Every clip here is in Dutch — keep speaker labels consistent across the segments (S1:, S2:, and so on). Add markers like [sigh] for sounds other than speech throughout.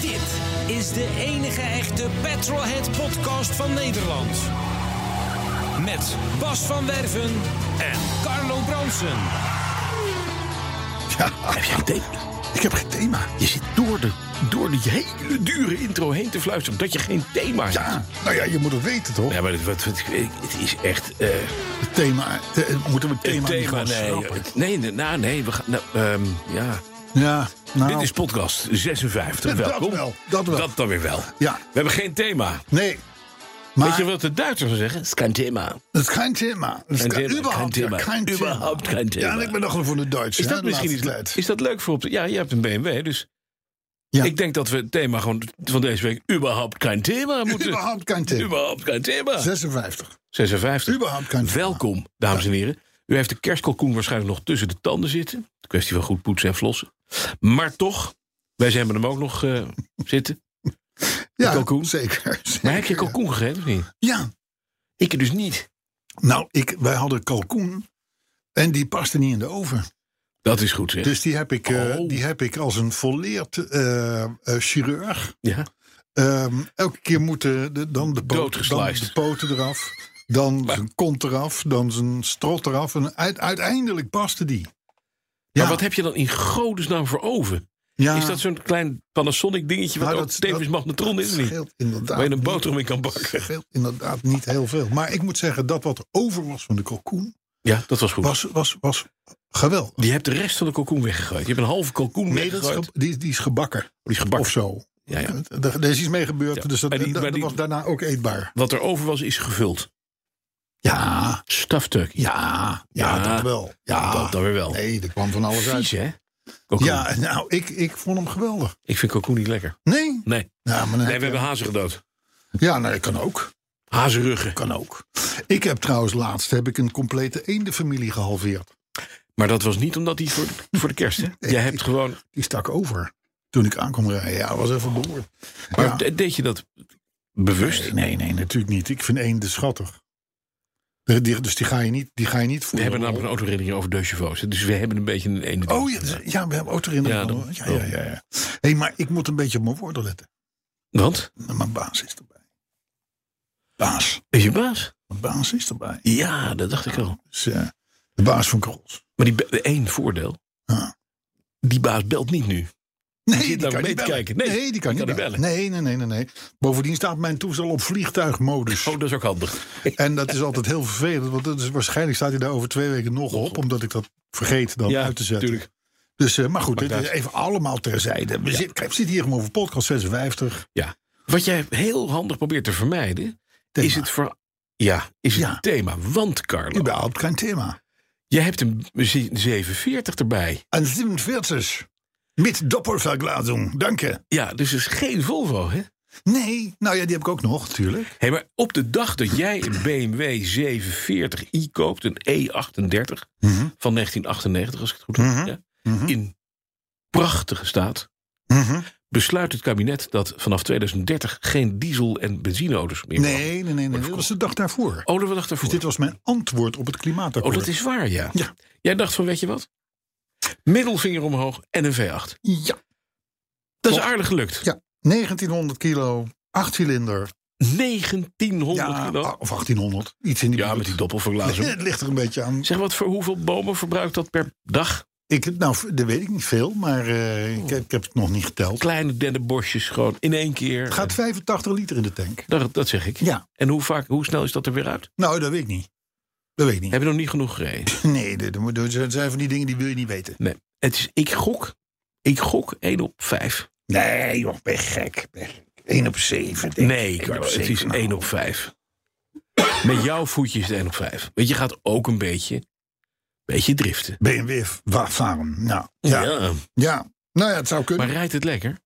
S1: Dit is de enige echte Petrolhead podcast van Nederland. Met Bas van Werven en Carlo Bronsen.
S2: Ja,
S3: Heb jij een thema?
S2: ik heb geen thema.
S3: Je zit door, de, door die hele dure intro heen te fluisteren omdat je geen thema hebt.
S2: Ja, nou ja, je moet het weten toch?
S3: Ja, maar het, wat- wat- het is echt... eh,
S2: Het thema, eh, moeten we het
S3: een
S2: thema, niet
S3: thema
S2: gewoon
S3: nee,
S2: schrappen?
S3: Het- nee, nee, nou, nee, we gaan... Nou, ehm, ja.
S2: Ja, nou,
S3: Dit is podcast 56,
S2: Ja, [laughs] dat
S3: welkom.
S2: wel, dat wel.
S3: Dat dan weer wel.
S2: Ja.
S3: We hebben geen thema.
S2: nee. Maar
S3: Weet je wat de Duitsers zeggen? Het is geen thema.
S2: het is geen thema. Het is
S3: Geen
S2: geen-
S3: thema,
S2: überhaupt
S3: geen thema.
S2: geen thema.
S3: Überhaupt geen thema.
S2: Ja, en ik ben nog voor de Duits.
S3: Is dat misschien iets... Is dat leuk voor op de... Ja, je hebt een BMW, dus...
S2: Ja.
S3: Ik denk dat we het thema gewoon van deze week... überhaupt geen thema moeten...
S2: Überhaupt geen thema.
S3: Überhaupt geen thema.
S2: 56.
S3: 56.
S2: Überhaupt geen thema.
S3: Welkom, dames en heren. U heeft de kerstkalkoen waarschijnlijk nog tussen de tanden zitten. Kwestie van goed poetsen en flossen. Maar toch, wij hebben hem ook nog eh, [laughs] zitten.
S2: Ja,
S3: kalkoen.
S2: Zeker, zeker.
S3: Maar heb je kalkoen gegeten of niet?
S2: Ja.
S3: Ik dus niet.
S2: Nou, ik, wij hadden kalkoen. En die paste niet in de oven.
S3: Dat is goed zeg.
S2: Dus die heb ik, eh,
S3: Oh.
S2: die heb ik als een volleerd eh, eh, chirurg.
S3: ja.
S2: Ehm, elke keer moeten de, dan, de poten, dan
S3: Doodgesliced.
S2: de poten eraf. Dan zijn kont eraf. Dan zijn strot eraf. En uit- uiteindelijk paste die. Ja.
S3: Maar wat heb je dan in godesnaam voor oven?
S2: Ja,
S3: Is dat zo'n klein Panasonic dingetje wat
S2: Nou,
S3: ook
S2: dat-
S3: tevens
S2: dat-
S3: magnetron is? of Niet?
S2: scheelt inderdaad
S3: Waar je een
S2: niet-
S3: boterham in kan
S2: [laughs]
S3: bakken.
S2: scheelt inderdaad niet heel veel. Maar ik moet zeggen, dat wat er over was van de kalkoen...
S3: Ja, dat was goed.
S2: was, was, was geweldig.
S3: Je hebt de rest van de kalkoen weggegooid. Je hebt een halve kalkoen
S2: Nee, dat is
S3: weggegooid.
S2: ge- die, die is gebakken.
S3: Oh, Die is gebakken.
S2: Of zo.
S3: Ja, ja.
S2: Er, er is iets mee gebeurd,
S3: Ja,
S2: dus dat,
S3: maar die-
S2: dat-
S3: maar
S2: dat
S3: die-
S2: was daarna ook eetbaar.
S3: Wat er over was, is gevuld.
S2: Ja,
S3: Stuffed turkey.
S2: ja, ja,
S3: Ja.
S2: dat wel.
S3: Ja,
S2: Ja,
S3: dat dan weer wel.
S2: Nee, er kwam van alles
S3: Vies,
S2: uit.
S3: hè? Ja.
S2: Ja, nou, ik, ik vond hem geweldig.
S3: Ik vind kalkoen niet lekker.
S2: Nee?
S3: Nee.
S2: Ja, maar dan
S3: Nee,
S2: heb
S3: we
S2: je-
S3: hebben hazen gedood.
S2: ja, nou, dat kan ook.
S3: Hazenruggen.
S2: Kan ook. Ik heb trouwens laatst heb ik een complete eendenfamilie gehalveerd.
S3: Maar dat was niet omdat die voor, voor de
S2: [laughs]
S3: kerst, hè? Jij hebt gewoon...
S2: Die stak over toen ik aankwam rijden. Ja, dat was even behoord.
S3: Maar
S2: Ja.
S3: de- deed je dat bewust?
S2: Nee, nee, nee, natuurlijk niet. Ik vind eenden schattig. Die- die- Dus die ga je niet, die ga je niet
S3: We
S2: voelen.
S3: hebben namelijk een autoherinnering over deux chevaux. hè, Dus we hebben een beetje een ene
S2: Oh ja, d- ja, we hebben ook erin.
S3: Ja,
S2: Ja,
S3: dan-
S2: ja, ja, ja, ja. Hé, maar ik moet een beetje op mijn woorden letten.
S3: Want?
S2: Mijn baas is erbij. Baas.
S3: Is je baas?
S2: Mijn baas is erbij.
S3: Ja, dat dacht ik al.
S2: Dus, eh, de baas van Krols.
S3: Maar die be- één voordeel.
S2: Ja.
S3: Die baas belt niet nu.
S2: Nee,
S3: zit nou mee te
S2: bellen.
S3: kijken. Nee,
S2: die kan,
S3: die
S2: niet
S3: kan niet
S2: bellen. Nee, nee, nee, nee, nee. Bovendien staat mijn toestel op vliegtuigmodus.
S3: [laughs] Oh, dat is ook handig.
S2: En dat is altijd heel vervelend. Want dat is, waarschijnlijk staat hij daar over twee weken nog op. Omdat ik dat vergeet dan uit te zetten.
S3: tuurlijk.
S2: Dus, eh, maar goed, dit
S3: uit.
S2: is even allemaal terzijde. We, zitten, we zitten hier gewoon voor podcast 56.
S3: Ja. Wat jij heel handig probeert te vermijden...
S2: Thema.
S3: is het voor... Ja, is het
S2: Ja.
S3: thema. Want, Carlo,
S2: Überhaupt geen thema.
S3: jij hebt een ze- 740 erbij.
S2: Een 47. Met doppelverglazing, dank je.
S3: Ja, dus het is geen Volvo, hè?
S2: Nee, nou ja, die heb ik ook nog, natuurlijk.
S3: Hé, maar op de dag dat jij een BMW 740i koopt, een E38 van 1998, als ik het goed heb,
S2: Mhm.
S3: ja, in prachtige staat, besluit het kabinet dat vanaf 2030 geen diesel- en benzineauto's meer mogen.
S2: Nee, nee, nee, nee. Dat was de dag daarvoor.
S3: Oh, dat we dachten
S2: Dus dit was mijn antwoord op het
S3: Oh,
S2: klimaatakkoord.
S3: dat is waar, ja.
S2: Ja.
S3: Jij dacht van, weet je wat? Middelvinger omhoog en een V8.
S2: Ja,
S3: Dat
S2: Klopt.
S3: is aardig gelukt.
S2: ja. 1900 kilo, 8 cilinder.
S3: 1900
S2: Ja,
S3: kilo.
S2: ah, of 1800. Iets in die
S3: Ja,
S2: buurt.
S3: met die
S2: [laughs]
S3: doppelverglazing.
S2: Het ligt er een beetje aan.
S3: Zeg, wat voor hoeveel bomen verbruikt dat per dag?
S2: Ik, nou, dat weet ik niet veel, maar eh, ik, heb, ik heb het nog niet geteld.
S3: Kleine dennenbosjes gewoon in één keer.
S2: Het gaat 85 liter in de tank.
S3: dat, dat zeg ik.
S2: Ja.
S3: En hoe, vaak, hoe snel is dat er weer uit?
S2: Nou, dat weet ik niet. Dat weet ik niet.
S3: Heb je nog niet genoeg gereden?
S2: Nee, dat- dat dat zijn van die dingen die wil je niet weten.
S3: Nee. Het is, ik gok. Ik gok 1 op 5.
S2: Nee, joh, ben je gek. 1 op 7.
S3: Nee, Carlo, het is
S2: nou.
S3: 1 op 5. Met jouw voetje is het 1 op 5. Want je gaat ook een beetje Beetje driften.
S2: BMW wa- varen. Nou, ja, ja. Nou ja, het zou kunnen.
S3: Maar rijdt het lekker?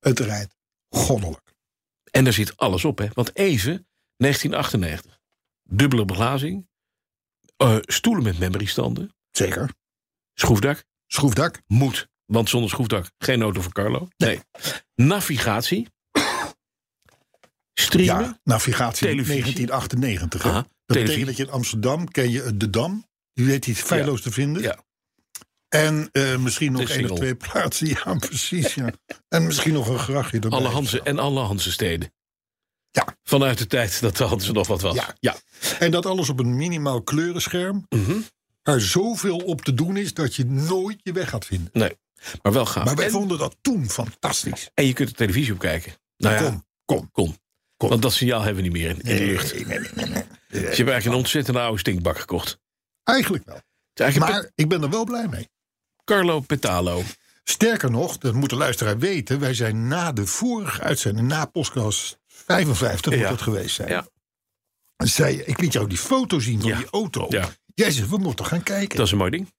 S2: het rijdt goddelijk.
S3: En daar zit alles op, hè? Want even, 1998. Dubbele beglazing. eh, stoelen met memorystanden.
S2: Zeker.
S3: Schroefdak.
S2: Schroefdak.
S3: Moet. Want zonder schroefdak geen auto voor Carlo. Nee. Navigatie. Streamen.
S2: Ja, navigatie
S3: Televisie.
S2: 1998. hè.
S3: Aha,
S2: dat
S3: televisie.
S2: betekent dat je in Amsterdam ken je de Dam. Je weet iets feilloos te vinden.
S3: Ja.
S2: En eh, misschien nog
S3: De
S2: één of
S3: single.
S2: twee plaatsen. [laughs] Ja, precies. Ja. en misschien nog een grachtje erbij.
S3: Alle Hanse en alle Hanse steden.
S2: Ja.
S3: Vanuit de tijd dat de Hanse nog wat was.
S2: Ja.
S3: ja.
S2: En dat alles op een minimaal kleurenscherm.
S3: Mhm.
S2: Er zoveel op te doen is dat je nooit je weg gaat vinden.
S3: Nee. Maar wel gaaf.
S2: Maar wij
S3: en,
S2: vonden dat toen fantastisch.
S3: en je kunt er televisie op kijken. Nou ja,
S2: Kom, kom.
S3: Kom.
S2: Kom.
S3: Want dat signaal hebben we niet meer in, in de lucht.
S2: Nee, nee, nee, nee, nee.
S3: Dus je hebt eigenlijk een ontzettend oude stinkbak gekocht. Het
S2: Eigenlijk wel.
S3: is eigenlijk een
S2: Maar ik ben er wel blij mee.
S3: Pe- Carlo Petalo.
S2: Sterker nog, dat moet de luisteraar weten. Wij zijn na de vorige uitzending, na podcast 55 moet
S3: Ja.
S2: het geweest zijn.
S3: Ja.
S2: Zei je, ik liet jou die foto zien van
S3: Ja.
S2: die auto.
S3: Ja.
S2: Jij zegt, we moeten gaan kijken.
S3: Dat is een mooi ding.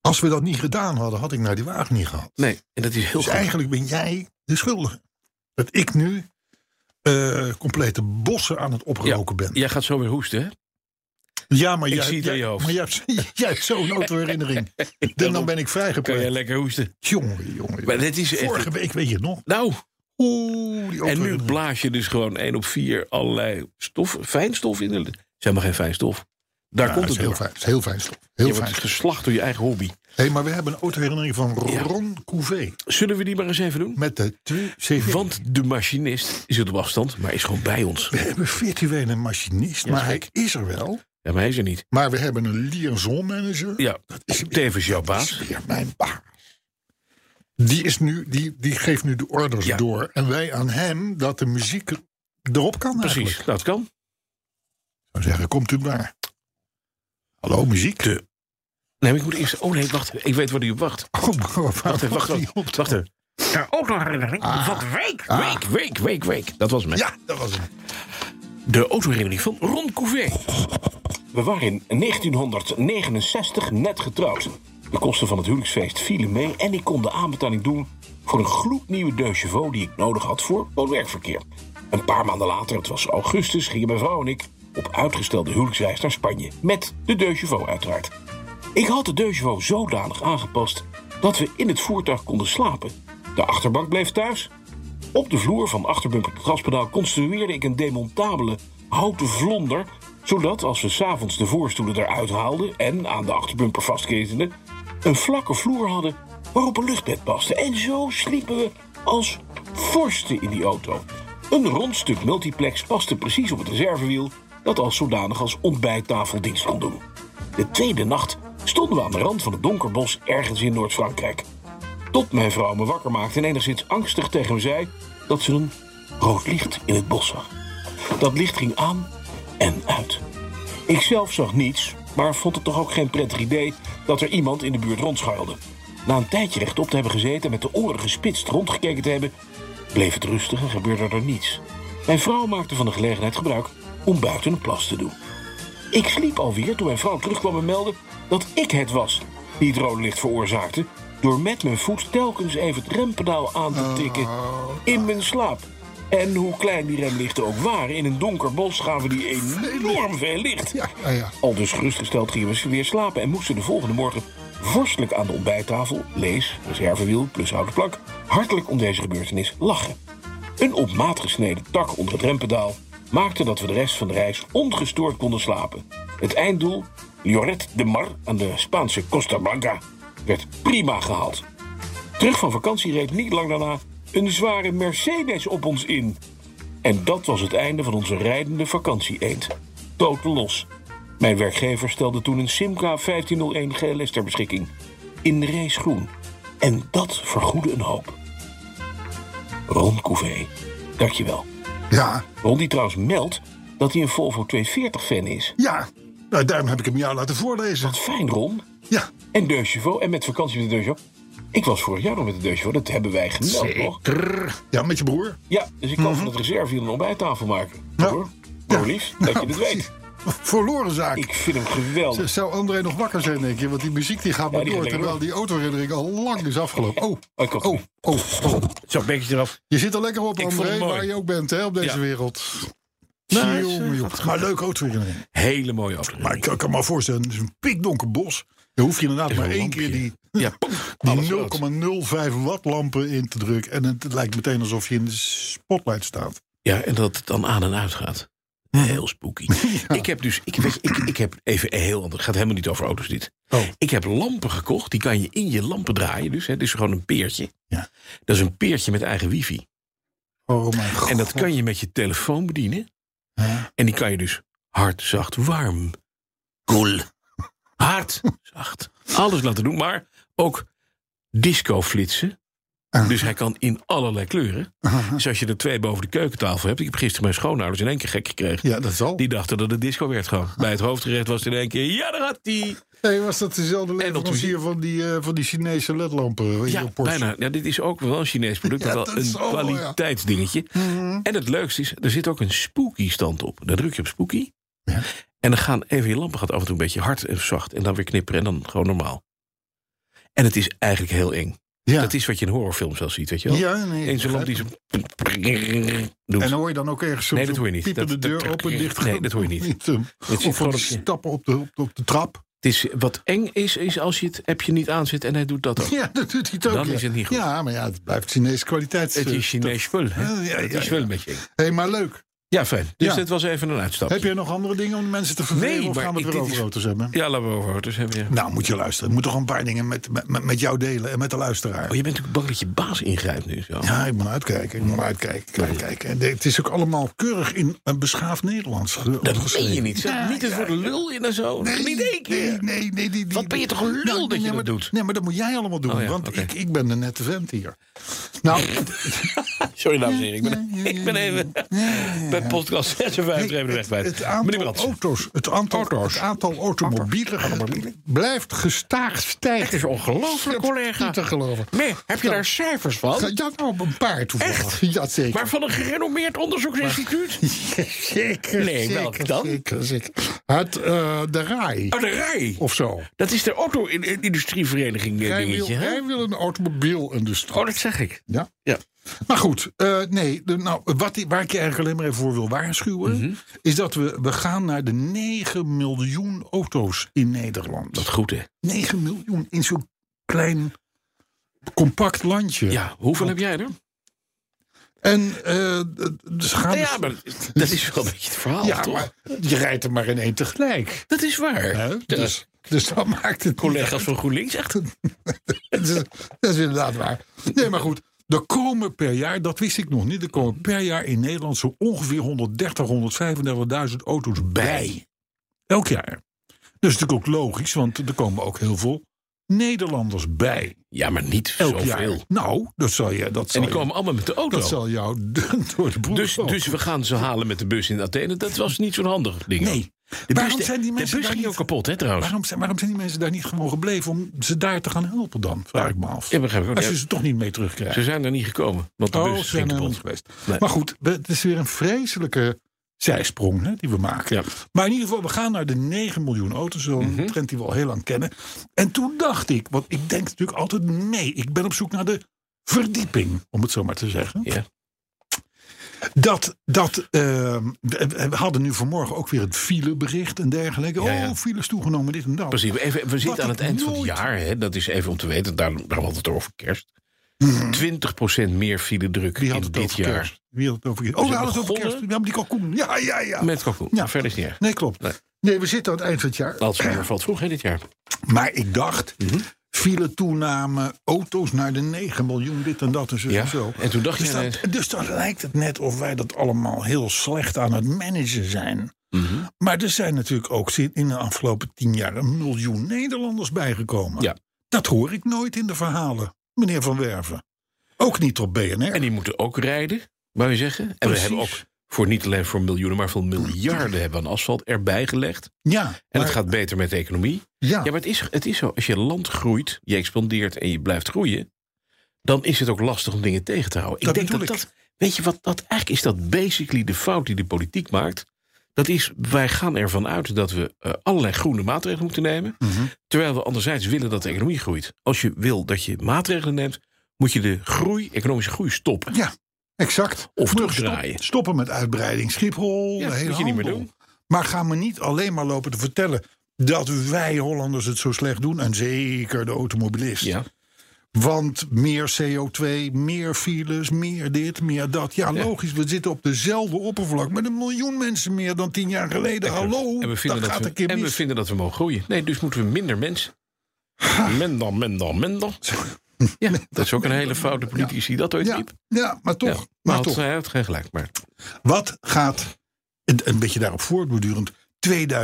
S2: Als we dat niet gedaan hadden, had ik naar die wagen niet gehad.
S3: Nee, en dat is heel
S2: Dus
S3: goed.
S2: eigenlijk ben jij de schuldige. Dat ik nu eh, complete bossen aan het oproken ben.
S3: Jij gaat zo weer hoesten, hè?
S2: Ja, maar
S3: Ik
S2: jij,
S3: zie het
S2: jij-
S3: aan je hoofd.
S2: Maar jij, hebt- [laughs] jij hebt zo'n
S3: [laughs]
S2: autoherinnering. Dan, dan ben ik
S3: Kan jij
S2: vrijgepleit.
S3: lekker hoesten?
S2: Jongen, jongen.
S3: Maar dit is echt-
S2: Vorige week, weet je het nog?
S3: Nou,
S2: Oeh, die
S3: en nu
S2: autoherinnering.
S3: blaas je dus gewoon één op vier allerlei stof, fijnstof in de lucht. Het is helemaal geen fijnstof. Daar
S2: Ja,
S3: komt
S2: het
S3: het
S2: is heel
S3: door.
S2: fijn. het is heel fijn stof. Heel
S3: Je
S2: fijn.
S3: wordt geslacht door je eigen hobby.
S2: Hé, maar we hebben een autoherinnering van Ron Couvé.
S3: Zullen we die maar eens even doen?
S2: Met de 2CV.
S3: Want de machinist zit op afstand, maar is gewoon bij ons.
S2: we hebben virtueel een machinist, maar hij
S3: zeker.
S2: is er wel.
S3: Ja, maar hij is er niet.
S2: Maar we hebben een liaison manager.
S3: Ja, tevens jouw baas.
S2: is weer mijn baas. Die, is nu, die, die geeft nu de orders
S3: Ja.
S2: door. En wij aan hem dat de muziek erop kan eigenlijk.
S3: Precies, dat kan.
S2: Ik zou zeggen, komt u maar. Hallo, muziek. De...
S3: Nee, maar ik moet eerst... Oh nee, wacht. Ik weet waar hij op
S2: [laughs]
S3: wacht.
S2: Oh,
S3: Wacht even, wacht
S2: die op Ah.
S3: even. Wacht even. Ja, ook nog herinnering. Van week, week, week, week, week. Dat was hem. hè?
S2: Ja, dat was hem.
S3: De autoherinnering van Ron Couvet. We waren in 1969 net getrouwd. De kosten van het huwelijksfeest vielen mee en ik kon de aanbetaling doen voor een gloednieuwe deux chevaux die ik nodig had voor woon-werkverkeer. Een paar maanden later, het was augustus, gingen mijn vrouw en ik op uitgestelde huwelijksreis naar Spanje. Met de deux chevaux uiteraard. Ik had de deux chevaux zodanig aangepast dat we in het voertuig konden slapen. De achterbank bleef thuis op de vloer van achterbumper tot gaspedaal construeerde ik een demontabele houten vlonder, zodat als we s'avonds de voorstoelen eruit haalden en aan de achterbumper vastketenden, een vlakke vloer hadden waarop een luchtbed paste. En zo sliepen we als vorsten in die auto. Een rond stuk multiplex paste precies op het reservewiel, dat als zodanig als ontbijttafel dienst kon doen. De tweede nacht stonden we aan de rand van het donkerbos ergens in Noord-Frankrijk. Tot mijn vrouw me wakker maakte en enigszins angstig tegen me zei dat ze een rood licht in het bos zag. Dat licht ging aan en uit. Ik zelf zag niets, maar vond het toch ook geen prettig idee dat er iemand in de buurt rondscharrelde. Na een tijdje rechtop te hebben gezeten en met de oren gespitst rondgekeken te hebben, bleef het rustig en gebeurde er niets. Mijn vrouw maakte van de gelegenheid gebruik om buiten een plas te doen. Ik sliep alweer toen mijn vrouw terugkwam en meldde dat ik het was die het rode licht veroorzaakte. Door met mijn voet telkens even het rempedaal aan te tikken in mijn slaap. En hoe klein die remlichten ook waren, in een donker bos gaven die enorm veel licht.
S2: Ja, ja, Ah, ja.
S3: Al dus gerustgesteld gingen we weer slapen en moesten de volgende morgen vorstelijk aan de ontbijttafel, lees, reservewiel plus houten plank, hartelijk om deze gebeurtenis lachen. Een op maat gesneden tak onder het rempedaal maakte dat we de rest van de reis ongestoord konden slapen. Het einddoel, Lloret de Mar aan de Spaanse Costa Blanca, werd prima gehaald. Terug van vakantie reed niet lang daarna een zware Mercedes op ons in. En dat was het einde van onze rijdende vakantie-eend. Tot los. Mijn werkgever stelde toen een Simca 1501 GLS ter beschikking. In race groen. En dat vergoedde een hoop. Ron Couvé, dankjewel.
S2: Ja,
S3: Ron die trouwens meldt dat hij een Volvo 240-fan is.
S2: ja. Nou, daarom heb ik hem jou laten voorlezen.
S3: Fijn, Ron.
S2: Ja,
S3: En Deux Chevaux. En met vakantie met de Deux Chevaux. Ik was vorig jaar nog met de Deux Chevaux. Dat hebben wij gemeld, nog.
S2: ja met je broer.
S3: Ja, dus ik kan van het reserve hier een ontbijttafel maken.
S2: Mhm. Ja.
S3: Hoor. Hoor lief, dat je het weet.
S2: verloren zaak.
S4: Ik vind hem geweldig.
S2: Z- Zou André nog wakker zijn, denk je? Want die muziek die gaat maar
S4: die
S2: door,
S4: gaat
S2: terwijl die autoherinnering al lang is afgelopen. Oh,
S4: Oh, ik had-
S2: oh, oh, oh.
S3: Zo, een beetje eraf.
S2: Je zit er lekker op,
S3: Ik vond
S2: André,
S3: het mooi.
S2: waar je ook bent hè, op deze
S3: Ja.
S2: wereld.
S3: Nou,
S2: Jongen, jongen. Maar leuk autoherinnering.
S3: Hele mooie aflevering.
S2: Maar ik kan- kan me voorstellen, het is een pikdonker bos. Dan hoef je inderdaad
S3: Is
S2: maar
S3: een
S2: één keer
S3: lampje.
S2: [laughs] die,
S3: Ja, pom, alles
S2: die
S3: rood.
S2: 0,05 watt lampen in te drukken. En het lijkt meteen alsof je in de spotlight staat.
S3: Ja, en dat het dan aan en uit gaat. Heel [laughs] spooky. Ik heb dus, ik, weet je, ik, ik heb even een heel ander. Het gaat helemaal niet over auto's dit.
S2: Oh.
S3: Ik heb lampen gekocht, die kan je in je lampen draaien. Dus hè, het is gewoon een peertje.
S2: Ja.
S3: Dat is een peertje met eigen wifi.
S2: Oh mijn god.
S3: En dat kan je met je telefoon bedienen.
S2: Ja.
S3: En die kan je dus hard, zacht, warm. Koel. Hard, zacht. Alles laten doen, maar ook disco flitsen.
S2: Ah.
S3: Dus hij kan in allerlei kleuren. Dus als je er twee boven de keukentafel hebt. Ik heb gisteren mijn schoonouders in één keer gek gekregen.
S2: Ja, dat zal.
S3: Die dachten dat het disco werd gewoon. Bij het hoofdgerecht was het in één keer. Ja, daar had hij.
S2: Hey, was dat dezelfde
S3: de
S2: leverancier van die, eh, van die Chinese ledlampen? eh,
S3: Ja, bijna. Ja, dit is ook wel een Chinees product.
S2: Ja,
S3: maar wel
S2: dat
S3: een
S2: is allemaal, ja.
S3: kwaliteitsdingetje.
S2: Mhm.
S3: En het leukste is, er zit ook een spooky stand op. Dan druk je op spooky.
S2: Ja.
S3: En dan gaan even je lampen gaat af en toe een beetje hard en zacht. En dan weer knipperen en dan gewoon normaal. En het is eigenlijk heel eng.
S2: Ja,
S3: Dat is wat je in horrorfilms wel ziet, weet je wel.
S2: ja nee.
S3: Eens een lamp die zo... doet.
S2: En dan hoor je dan ook ergens zo'n
S3: Nee, dat hoor je niet.
S2: piepen de
S3: Dat- dat-
S2: deur open en dicht. ehm,
S3: Nee, dat hoor je
S2: [laughs]
S3: niet. Het zit
S2: Of van
S3: gewoon
S2: die
S3: op je-
S2: stappen op de, op, de- op de trap.
S3: [laughs] Het is, wat eng is, is als je het appje niet aanzet en hij doet dat ook.
S2: Ja, dat doet hij het ook.
S3: Dan
S2: ja.
S3: is het niet goed.
S2: Ja, maar ja, het blijft Chinese kwaliteit. eh,
S3: Het is Chinees spul, hè.
S2: Ja, ja,
S3: Het
S2: ja,
S3: is wel een beetje eng.
S2: Hé, maar leuk.
S3: Ja, fijn. Dus
S2: Ja.
S3: dit was even een uitstap.
S2: Heb je nog andere dingen om de mensen te vervelen?
S3: Nee,
S2: of
S3: maar
S2: gaan we het weer
S3: ik- dit
S2: over
S3: is-
S2: auto's hebben?
S3: Ja, laten we over auto's hebben. ja.
S2: Nou, moet je luisteren. Ik moet toch een paar dingen met, met- met, met jou delen en met de luisteraar.
S3: Oh, je bent natuurlijk bang dat je baas ingrijpt nu. Zo.
S2: Ja, ik moet uitkijken. Ik moet uitkijken. Ik moet uitkijken. En de- het is ook allemaal keurig in een beschaafd Nederlands. ge-
S3: dat meen je
S2: geschreven.
S3: niet. Zeg, niet het woord lul in en zo. niet één keer.
S2: Nee, nee, nee, die- die-
S3: Wat ben je toch een lul dat je
S2: nee,
S3: dat
S2: maar-
S3: doet?
S2: Nee, maar dat moet jij allemaal doen.
S3: Oh ja,
S2: want
S3: oké.
S2: ik, ik ben de nette vent hier.
S3: [laughs]
S2: Nou,
S3: Sorry, dames en heren. Ik ben, [laughs] ik ben even bij podcast 56 even de weg kwijt.
S2: het
S3: Meneer
S2: aantal
S3: Brands,
S2: auto's, het aantal, Het aantal automobielen [laughs] blijft gestaag stijgen.
S3: het is ongelooflijk, collega.
S2: Niet te geloven.
S3: Nee, heb je daar cijfers van?
S2: Ja, nou, op een paar toevallig.
S3: Echt?
S2: Ja, zeker.
S3: Maar van een gerenommeerd onderzoeksinstituut?
S2: [laughs] Zeker,
S3: Nee,
S2: zeker,
S3: welk dan?
S2: Zeker, zeker. Het, eh, de RAI,
S3: Oh, de rij.
S2: of zo.
S3: Dat is de auto-industrievereniging
S2: Hij wil,
S3: eh, dingetje, hè?
S2: hij wil een automobielindustrie.
S3: Oh, dat zeg ik.
S2: Ja.
S3: Ja.
S2: Maar goed, eh, nee, de- nou, wat, die- waar ik je eigenlijk alleen maar even voor wil waarschuwen...
S3: Mhm.
S2: is dat we, we gaan naar de 9 miljoen auto's in Nederland.
S3: Dat is goed, hè?
S2: 9 miljoen in zo'n klein, compact landje.
S3: Ja, hoeveel heb jij er?
S2: En eh dus gaan
S3: Nou Ja, maar dat is wel een beetje het verhaal,
S2: Ja,
S3: toch?
S2: maar je rijdt er maar in één tegelijk.
S3: Dat is waar.
S2: Hè?
S3: De
S2: Dus, dus dat maakt het niet
S3: collega's van GroenLinks, echt.
S2: [laughs] Dat is, dat is inderdaad waar. Nee, maar goed. Er komen per jaar, dat wist ik nog niet, er komen per jaar in Nederland zo ongeveer 130, 135.000 auto's bij. Elk jaar. Dat is natuurlijk ook logisch, want er komen ook heel veel Nederlanders bij.
S3: Ja, maar niet
S2: Elk
S3: zoveel.
S2: jaar. Nou, dat zal je. Dat zal
S3: En die
S2: je-
S3: komen allemaal met de
S2: dat
S3: auto.
S2: zal jou [laughs] door de boel
S3: Dus,
S2: vallen.
S3: dus we gaan ze halen met de bus in Athene. Dat was niet zo'n handig ding.
S2: Nee.
S3: De bus,
S2: Waarom
S3: de-
S2: zijn die
S3: de
S2: mensen
S3: bus
S2: daar
S3: ging
S2: niet-
S3: ook kapot, hè, trouwens.
S2: Waarom, zijn- waarom zijn die mensen daar niet gewoon gebleven om ze daar te gaan helpen dan? Vraag ik me af.
S3: Ja, begrijp ik ook.
S2: Als
S3: Ja.
S2: je ze toch niet mee terugkrijgt.
S3: Ze zijn er niet gekomen, want de
S2: Oh,
S3: bus
S2: zijn
S3: ging
S2: er
S3: kapot.
S2: niet geweest.
S3: Nee.
S2: Maar goed, we- het is weer een vreselijke zijsprong hè, die we maken.
S3: Ja. Mhm.
S2: Maar in ieder geval, we gaan naar de 9 miljoen auto's. Zo'n trend die we al heel lang kennen. En toen dacht ik, want ik denk natuurlijk altijd mee. Ik ben op zoek naar de verdieping, om het zo maar te zeggen.
S3: Ja.
S2: Dat, dat ehm, we we hadden nu vanmorgen ook weer het filebericht en dergelijke.
S3: Ja, ja.
S2: Oh, files toegenomen, dit en dat.
S3: Precies. We- Even, we zitten aan
S2: ik
S3: het eind van het
S2: nooit-
S3: jaar, hè. dat is even om te weten. Daar, daar hadden we het over kerst. 20% meer file druk
S2: Wie
S3: in
S2: had Mhm. het
S3: dit
S2: over
S3: jaar.
S2: kerst? Wie had het over kerst? Oh,
S3: We
S2: we
S3: zijn
S2: hadden het over kerst.
S3: begonnen-
S2: We hebben die kalkoen. Ja, ja, ja.
S3: Met kalkoen.
S2: Ja.
S3: Verder is het niet erg.
S2: Nee, klopt.
S3: Nee.
S2: Nee. we zitten aan het eind van het jaar.
S3: Alzheimer valt vroeg hè, dit jaar.
S2: [clears throat] Maar ik dacht,
S3: Mhm.
S2: file toename, auto's naar de 9 miljoen, dit en dat en zo.
S3: Ja,
S2: En, zo.
S3: en toen dacht
S2: dus
S3: je
S2: dan,
S3: ineens-
S2: dus dan lijkt het net of wij dat allemaal heel slecht aan het managen zijn.
S3: Mhm.
S2: Maar er zijn natuurlijk ook zin- in de afgelopen tien jaar een miljoen Nederlanders bijgekomen.
S3: Ja.
S2: Dat hoor ik nooit in de verhalen, meneer Van Werven. Ook niet op BNR.
S3: En die moeten ook rijden, wou je zeggen. En we
S2: Precies.
S3: hebben ook voor niet alleen voor miljoenen, maar voor miljarden hebben we aan asfalt erbij gelegd.
S2: ja,
S3: En
S2: maar-
S3: het gaat beter met de economie.
S2: ja,
S3: Ja, maar het is, het is zo. Als je land groeit, je expandeert en je blijft groeien, dan is het ook lastig om dingen tegen te houden.
S2: Dat
S3: ik denk dat
S2: bedoel ik.
S3: dat. Weet je wat dat eigenlijk is? Dat basically de fout die de politiek maakt. Dat is, wij gaan ervan uit dat we eh, allerlei groene maatregelen moeten nemen. Terwijl we anderzijds willen dat de economie groeit. Als je wil dat je maatregelen neemt, moet je de groei, economische groei stoppen.
S2: Ja, exact.
S3: Of
S2: Moet je
S3: terugdraaien.
S2: stoppen met uitbreiding. Schiphol,
S3: Ja,
S2: de hele
S3: moet je niet meer
S2: handel.
S3: doen.
S2: Maar ga me niet alleen maar lopen te vertellen... dat wij Hollanders het zo slecht doen. En zeker de automobilist.
S3: Ja.
S2: Want meer CO2, meer files, meer dit, meer dat. Ja, logisch, we zitten op dezelfde oppervlak... met een miljoen mensen meer dan tien jaar geleden. Hallo,
S3: En we,
S2: dat,
S3: vinden dat,
S2: gaat een
S3: we,
S2: keer
S3: en we
S2: mis.
S3: vinden dat we mogen groeien. Nee, dus moeten we minder mensen. Minder, minder, minder.
S2: [laughs]
S3: Ja, dat is ook een hele foute politicus die dat ooit
S2: ja,
S3: riep.
S2: ja, maar toch.
S3: Ja, Nou,
S2: maar
S3: maar had,
S2: toch.
S3: hij had geen gelijk. Maar
S2: Wat gaat, een, een beetje daarop voortbordurend,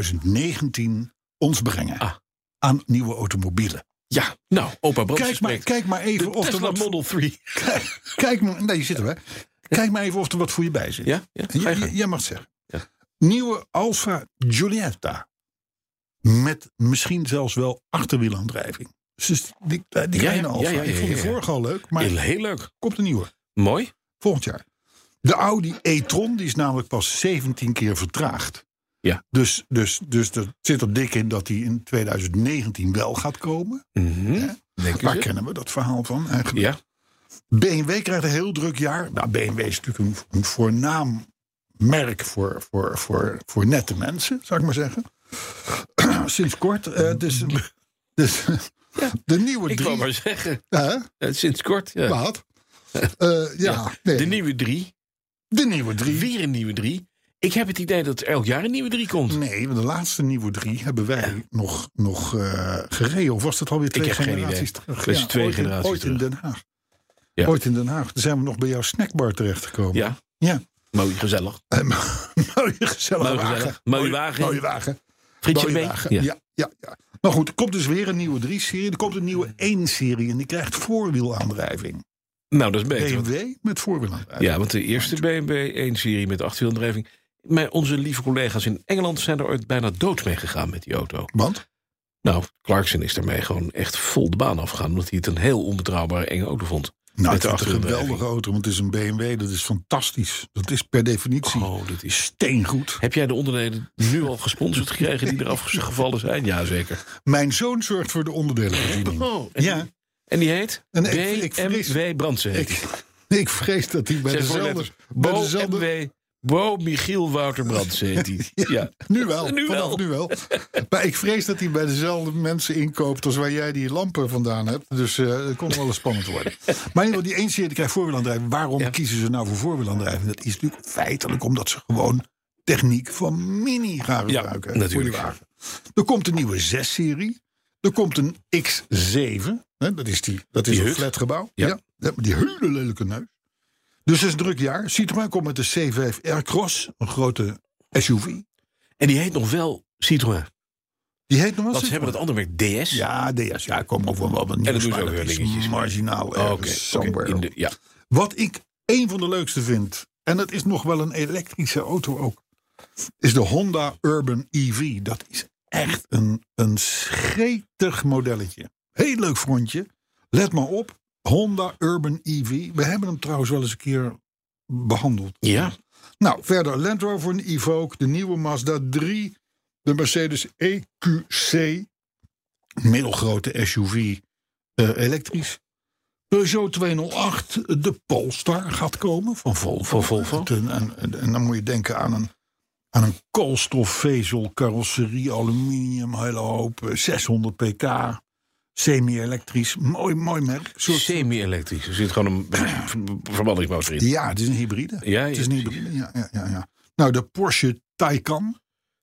S2: 2019 ons brengen
S3: Ah.
S2: aan nieuwe automobielen?
S3: ja, nou, opa Brandt
S2: Kijk maar,
S3: spreekt.
S2: kijk maar
S3: de
S2: even of er
S3: Tesla
S2: wat. voor-
S3: Model
S2: [laughs]
S3: 3.
S2: Kijk, kijk maar, nee, je zit er hè. Kijk maar even of er wat voor je bij zit.
S3: Ja, ja,
S2: En
S3: ga
S2: jij-
S3: je gang.
S2: jij mag het zeggen.
S3: Ja.
S2: Nieuwe Alfa Giulietta. Met misschien zelfs wel achterwielaandrijving. Dus die, die kleine
S3: ja,
S2: Alfa.
S3: ja, ja,
S2: ik vond de
S3: ja, ja.
S2: vorige al leuk, maar
S3: Heel, heel leuk.
S2: komt een nieuwe.
S3: Mooi.
S2: Volgend jaar. De Audi e-tron die is namelijk pas 17 keer vertraagd.
S3: Ja.
S2: Dus, dus, dus er zit er dik in dat die in 2019 wel gaat komen.
S3: Mhm. Denk
S2: Waar
S3: je?
S2: kennen we dat verhaal van eigenlijk?
S3: Ja,
S2: BMW krijgt een heel druk jaar. Nou, BMW is natuurlijk een, een voornaam merk voor, voor, voor, voor nette mensen, zou ik maar zeggen. [clears throat] Sinds kort. eh, dus, dus, de nieuwe
S3: ik
S2: drie.
S3: wou maar zeggen.
S2: Hè?
S3: eh, Sinds kort. ja. [laughs]
S2: Wat? Eh, ja,
S3: Ja,
S2: nee.
S3: De nieuwe 3.
S2: de nieuwe drie.
S3: Weer een nieuwe 3. Ik heb het idee dat er elk jaar een nieuwe 3 komt.
S2: Nee, want de laatste nieuwe drie hebben wij nog, nog eh, gereden. Of was dat alweer twee
S3: heb geen
S2: generaties
S3: idee.
S2: terug?
S3: Dat is twee
S2: ooit in-
S3: generaties
S2: ooit in
S3: terug.
S2: Den Haag.
S3: Ja.
S2: Ooit in Den Haag. Toen zijn we nog bij jouw snackbar terechtgekomen.
S3: Ja,
S2: ja. [laughs]
S3: mooi, gezellig.
S2: Eh, mooie gezellige
S3: Mooie
S2: wagen.
S3: gezellig. Mooie wagen.
S2: Mooie wagen.
S3: Frietje
S2: Mooie
S3: mee.
S2: wagen. Ja. Ja, ja, Maar goed, er komt dus weer een nieuwe 3-serie. Er komt een nieuwe 1-serie en die krijgt voorwielaandrijving.
S3: Nou, dat is beter. want-
S2: BMW met voorwielaandrijving.
S3: Ja, want de eerste BMW 1-serie met achtwielaandrijving. Maar onze lieve collega's in Engeland zijn er ooit bijna dood mee gegaan met die auto.
S2: Want?
S3: Nou, Clarkson is daarmee gewoon echt vol de baan afgegaan. Omdat hij het een heel onbetrouwbare enge auto vond.
S2: Nou, het
S3: met de
S2: is een
S3: achtwielaandrijving.
S2: geweldige auto, want het is een BMW. Dat is fantastisch. Dat is per definitie
S3: Oh, dat is...
S2: steengoed.
S3: Heb jij de onderdelen nu al gesponsord gekregen die eraf gevallen zijn? Jazeker.
S2: Mijn zoon zorgt voor de onderdelenvoorziening.
S3: Oh, en,
S2: Ja,
S3: en die heet?
S2: En ik- ik vrees-
S3: BMW Brandsen. heet die.
S2: ik, ik vrees dat hij bij
S3: Zes
S2: dezelfde...
S3: voorletters.
S2: Bij
S3: Bo
S2: dezelfde
S3: MW. Bo Michiel Wouter Brandsen heet die.
S2: [laughs]
S3: Ja.
S2: nu wel,
S3: Nu
S2: vanaf
S3: wel.
S2: nu wel. Maar ik vrees dat hij bij dezelfde mensen inkoopt als waar jij die lampen vandaan hebt. Dus eh het kon wel eens spannend
S3: [laughs]
S2: worden. Maar in ieder geval, die ene serie krijgt voorwielaandrijving. Waarom
S3: Ja.
S2: kiezen ze nou voor voorwielaandrijving? Dat is natuurlijk feitelijk omdat ze gewoon techniek van mini gaan
S3: Ja,
S2: gebruiken.
S3: natuurlijk.
S2: Voor die wagen. Er komt een nieuwe 6-serie. Er komt een X7. Hè, dat is, die, dat is
S3: Die
S2: een
S3: hut.
S2: flatgebouw.
S3: Ja.
S2: Ja. ja, die hele lelijke neus. Dus het is een druk jaar. Citroën komt met de C5 Aircross. Een grote SUV.
S3: En die heet nog wel Citroën.
S2: Die heet nog wel
S3: Want ze
S2: Citroën.
S3: hebben dat andere merk DS.
S2: Ja, DS. Ja, kom ook wel wat
S3: En dat doen ze ook weer dingetjes. Oh,
S2: Marginaal.
S3: Oké,
S2: Oké.
S3: oké, in de- ja.
S2: Wat ik een van de leukste vind, en dat is nog wel een elektrische auto ook, is de Honda Urban EV. Dat is echt een, een schetig modelletje. Heel leuk frontje. Let maar op, Honda Urban EV. We hebben hem trouwens wel eens een keer behandeld.
S3: Ja.
S2: Nou, verder Land Rover en Evoque, de nieuwe Mazda 3, de Mercedes EQC, middelgrote SUV, eh, elektrisch. Peugeot 208, de Polestar gaat komen van Volvo.
S3: Van Volvo.
S2: Het- En, en- en dan moet je denken aan een, aan een koolstofvezel, carrosserie, aluminium, hele hoop, eh, 600 pk, semi-elektrisch. Mooi, mooi merk. Soort-
S3: Semi-elektrisch. Er
S2: [clears throat]
S3: zit gewoon een ver- verbrandingsmotor in.
S2: ja, het is een hybride.
S3: Ja,
S2: het
S3: ja,
S2: is een
S3: precies.
S2: hybride, ja, ja, ja, ja. Nou, de Porsche Taycan.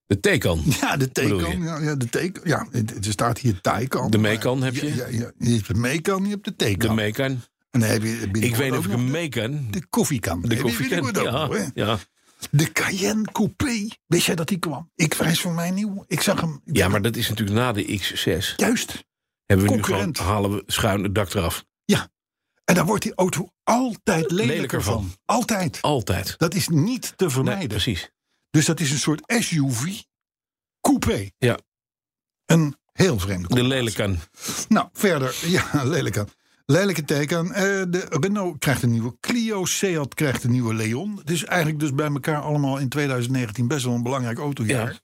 S3: De Taycan.
S2: [laughs] Ja, de
S3: Bedoel
S2: Taycan. Ja, ja, de Taycan. Ja, het, het staat hier Taycan.
S3: De
S2: maar-
S3: Macan heb
S2: Ja,
S3: je.
S2: ja, ja. je hebt de Macan, je hebt de
S3: De
S2: Taycan.
S3: Macan.
S2: en dan heb je binnenkort
S3: Ik weet niet
S2: ook
S3: of ik
S2: nog
S3: hem
S2: de-
S3: mee kan.
S2: De koffiekan.
S3: De koffie
S2: Die, die,
S3: ken.
S2: wordt ook
S3: Ja,
S2: nog, hè.
S3: ja.
S2: De Cayenne Coupé. Wist jij dat die kwam? Ik wijs voor mij nieuw. Ik zag hem. Ik
S3: ja,
S2: zag
S3: maar
S2: hem.
S3: dat is natuurlijk na de X6.
S2: Juist.
S3: Hebben we nu gewoon,
S2: concurrent.
S3: halen we schuin het dak eraf.
S2: En daar wordt die auto altijd lelijker,
S3: Lelijker van.
S2: van. Altijd.
S3: Altijd.
S2: Dat is niet te
S3: Nee,
S2: vermijden.
S3: precies.
S2: dus dat is een soort SUV coupé.
S3: Ja.
S2: Een heel vreemde [laughs]
S3: De Lelijkan.
S2: Nou, verder, ja, lelijk aan. Lelijke teken. Eh, de Renault krijgt een nieuwe Clio. Seat krijgt een nieuwe Leon. Het is eigenlijk dus bij elkaar allemaal in 2019 best wel een belangrijk autojaar.
S3: Ja.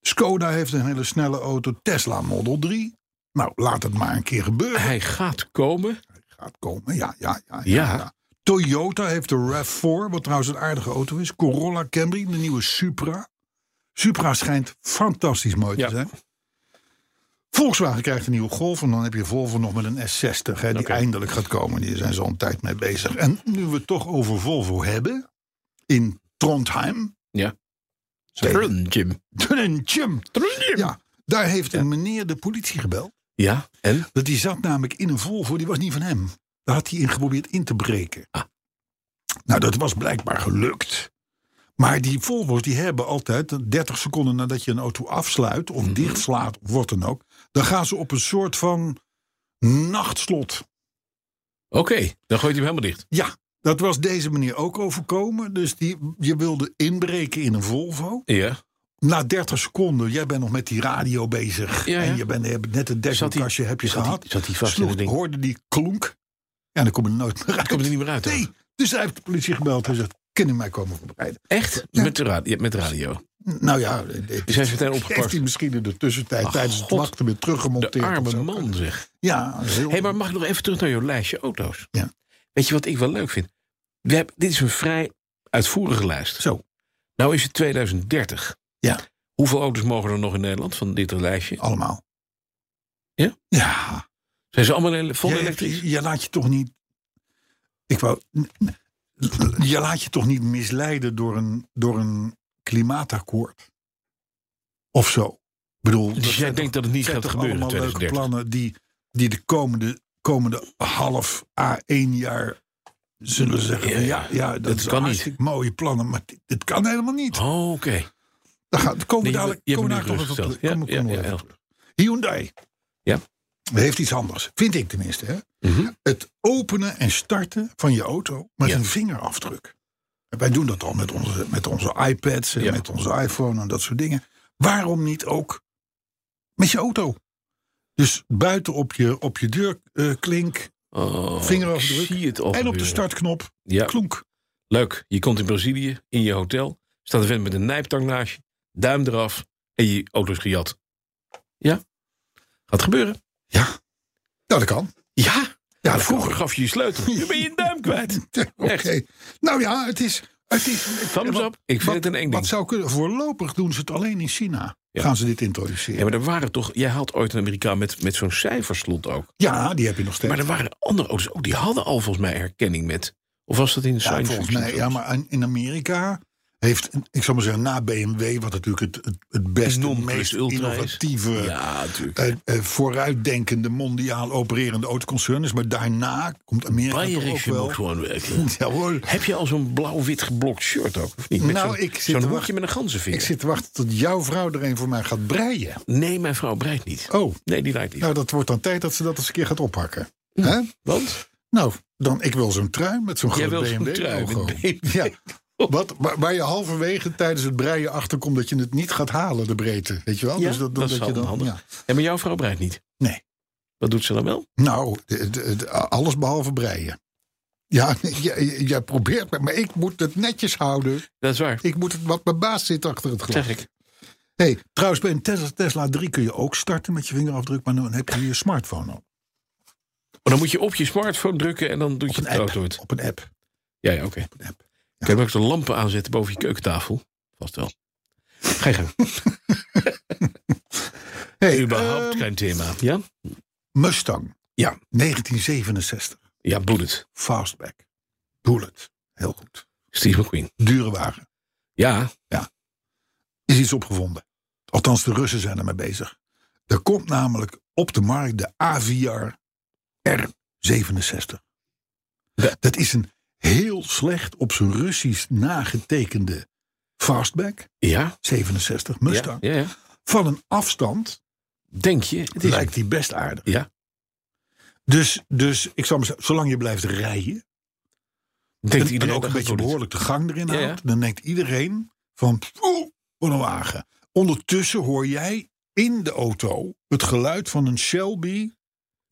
S2: Skoda heeft een hele snelle auto. Tesla Model 3. Nou, laat het maar een keer gebeuren.
S3: Hij gaat komen.
S2: Gaat komen, ja, ja, ja.
S3: Ja.
S2: Toyota heeft de RAV4, wat trouwens een aardige auto is. Corolla Camry, de nieuwe Supra. Supra schijnt fantastisch mooi te
S3: Ja.
S2: zijn. Volkswagen krijgt een nieuwe Golf en dan heb je Volvo nog met een S60... Hè, die eindelijk gaat komen, die zijn zo'n tijd mee bezig. En nu we het toch over Volvo hebben, in Trondheim... [laughs]
S3: Ja.
S2: Tegen-
S3: Jim.
S2: Trondheim.
S3: Ja.
S2: Ja, daar heeft een meneer de politie gebeld.
S3: ja, en?
S2: Dat die zat namelijk in een Volvo, die was niet van hem. Daar had hij in geprobeerd in te breken. Nou, dat was blijkbaar gelukt. Maar die Volvo's die hebben altijd 30 seconden nadat je een auto afsluit of dichtslaat of wat dan ook, dan gaan ze op een soort van nachtslot.
S3: Oké, dan gooit hij hem helemaal dicht.
S2: Ja, dat was deze meneer ook overkomen. Dus die, je wilde inbreken in een Volvo.
S3: Ja.
S2: Na 30 seconden, jij bent nog met die radio bezig.
S3: Ja, ja.
S2: En je bent je hebt net het
S3: Zat die-
S2: dekkelkastje heb je
S3: zat die-
S2: gehad.
S3: zat die vast in
S2: Sloeg-
S3: het ding?
S2: Hoorde die klonk. Ja, dan kom je er nooit meer uit.
S3: komt er niet meer uit,
S2: Nee,
S3: hoor.
S2: dus hij heeft de politie gebeld en gezegd... Kunnen mij komen verbreiden?
S3: Echt? Met, de radio, met de radio.
S2: Nou ja, eh,
S3: Is hij meteen
S2: heeft hij
S3: opgepakt?
S2: misschien in de tussentijd... tijdens het
S3: God.
S2: wachten weer teruggemonteerd.
S3: De
S2: of
S3: arme
S2: zo.
S3: man, zeg.
S2: Ja, heel...
S3: Hé, hey, maar mag ik nog even terug naar jouw lijstje auto's?
S2: Ja.
S3: Weet je wat ik wel leuk vind? We hebben, dit is een vrij uitvoerige lijst.
S2: Zo.
S3: Nou is het 2030.
S2: Ja.
S3: Hoeveel auto's mogen er nog in Nederland van dit lijstje?
S2: allemaal.
S3: Ja?
S2: Ja.
S3: Zijn ze allemaal ele- vol
S2: Jij-
S3: elektrisch?
S2: Je, laat je toch niet... Ik wou... Je laat je toch niet misleiden door een, door een klimaatakkoord? Of zo? Ik bedoel, dat
S3: Dus jij
S2: zijn
S3: denkt dat het niet
S2: zijn
S3: gaat
S2: toch
S3: gebeuren in
S2: allemaal leuke
S3: 2030?
S2: plannen die, die de komende, komende half A1 jaar zullen zeggen.
S3: Ja,
S2: Ja, ja, dat,
S3: dat
S2: is
S3: kan niet.
S2: hartstikke Mooie plannen, maar dit, dit kan helemaal niet.
S3: Oh, oké.
S2: Daar gaan- daar komen we
S3: Nee, je
S2: dadelijk
S3: hebt- je
S2: komen we
S3: hebt
S2: dadelijk
S3: me
S2: nog even
S3: nu
S2: op
S3: gerustgesteld.
S2: terug. Komen we-
S3: Ja,
S2: komen we
S3: ja,
S2: nog
S3: ja,
S2: even terug. Hyundai
S3: Ja.
S2: heeft iets anders, vind ik tenminste. Hè?
S3: Mhm.
S2: Het openen en starten van je auto met
S3: Ja.
S2: een vingerafdruk. En wij doen dat al met onze, met onze iPads en
S3: Ja.
S2: met onze iPhone en dat soort dingen. Waarom niet ook met je auto? Dus buiten op je, op je deurklink
S3: Oh,
S2: Vingerafdruk.
S3: ik Zie het al
S2: en op de
S3: gebeuren.
S2: startknop
S3: Ja,
S2: klonk.
S3: leuk. Je komt in Brazilië, in je hotel. Staat een vent met een nijptang naast je. Duim eraf. En je auto is gejat. Ja. Gaat gebeuren.
S2: Nou, dat kan.
S3: Ja.
S2: Ja, Ah, dat
S3: Vroeger gaf je je
S2: [laughs]
S3: sleutel. Nu ben je een duim kwijt.
S2: kan. Oké.
S3: Echt.
S2: Nou ja, het is. Het is
S3: Thumbs
S2: wat-
S3: up. Ik vind
S2: wat-
S3: het een eng
S2: Wat
S3: ding.
S2: zou kunnen? Voorlopig doen ze het alleen in China.
S3: Ja.
S2: Gaan ze dit introduceren?
S3: Ja,
S2: Ja,
S3: maar er waren toch... Jij had ooit een Amerikaan met, met zo'n cijferslot ook.
S2: die heb je nog steeds.
S3: Maar er waren andere auto's ook. Die hadden al volgens mij herkenning met... Of was dat in
S2: Ja,
S3: science
S2: volgens
S3: fiction
S2: mij, ja,
S3: films?
S2: maar in- in Amerika heeft, ik zal maar zeggen, na BMW, wat natuurlijk het, het, het beste,
S3: Non
S2: het
S3: plus
S2: meest
S3: ultra is.
S2: innovatieve,
S3: Ja, natuurlijk.
S2: eh, eh, vooruitdenkende, mondiaal opererende autoconcern is. Maar daarna komt Amerika toch ook
S3: Bayerische
S2: wel.
S3: moet gewoon werken.
S2: [laughs] Ja hoor.
S3: Heb je al zo'n blauw-wit geblokt shirt ook? Of niet? Met
S2: Nou,
S3: zo'n,
S2: ik zit
S3: zo'n
S2: te
S3: hoedje
S2: wachten.
S3: met een ganzenveer.
S2: Ik zit te wachten tot jouw vrouw er een voor mij gaat breien.
S3: Nee, mijn vrouw breidt niet.
S2: Oh,
S3: Nee, die lijkt niet.
S2: nou dat wordt dan tijd dat ze dat eens een keer gaat oppakken. Hè?
S3: Want?
S2: Nou, dan ik wil zo'n trui met zo'n
S3: Jij
S2: groot
S3: wil zo'n
S2: BMW
S3: trui met
S2: logo.
S3: BMW.
S2: Ja. Wat, waar, waar je halverwege tijdens het breien achterkomt dat je het niet gaat halen, de breedte. Weet je wel?
S3: Ja,
S2: dus dat,
S3: dat is
S2: je
S3: wel handig.
S2: ja.
S3: Ja, maar jouw vrouw breidt niet.
S2: Nee.
S3: Wat doet ze dan wel?
S2: Nou, de- de- de- alles behalve breien. Ja, [laughs] nee, jij, jij probeert me, maar ik moet het netjes houden.
S3: Dat is waar.
S2: Ik moet het, want mijn baas zit achter het glas.
S3: Zeg ik.
S2: hey, trouwens, bij een Tesla, Tesla 3 kun je ook starten met je vingerafdruk, maar dan heb je je smartphone op.
S3: Maar Oh, dan moet je op je smartphone drukken en dan doet je
S2: Een
S3: het auto
S2: app.
S3: het.
S2: Op een app.
S3: Ja, ja, oké.
S2: Een app.
S3: Kan je ook de lampen aanzetten boven je keukentafel? Vast wel. Ga je gang.
S2: Hey,
S3: Überhaupt
S2: ehm,
S3: geen thema. Ja?
S2: Mustang.
S3: Ja.
S2: 1967.
S3: Ja, Bullet.
S2: Fastback. Bullet. Heel goed.
S3: Steve McQueen.
S2: Dure wagen.
S3: Ja.
S2: Is iets opgevonden. Althans, de Russen zijn ermee bezig. Er komt namelijk op de markt de AVR R67. Dat is een heel slecht op zijn Russisch nagetekende Fastback.
S3: Ja.
S2: 67
S3: Ja,
S2: Mustang.
S3: Ja, ja.
S2: Van een afstand
S3: Denk je? Het is
S2: lijkt die best aardig.
S3: Ja.
S2: Dus, dus ik zal maar zeggen, zolang je blijft rijden.
S3: Denkt
S2: en,
S3: iedereen
S2: en ook een
S3: dat
S2: beetje
S3: het wordt.
S2: behoorlijk de gang erin
S3: Ja, ja.
S2: houdt. Dan denkt iedereen van, oeh, wat een wagen. Ondertussen hoor jij in de auto het geluid van een Shelby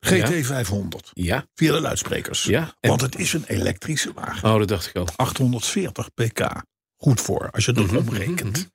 S2: GT 500.
S3: Ja,
S2: Via de luidsprekers.
S3: ja. En-
S2: Want het is een elektrische wagen.
S3: oh, dat dacht ik al.
S2: 840 pk. Goed voor, als je
S3: Mhm,
S2: dat omrekent.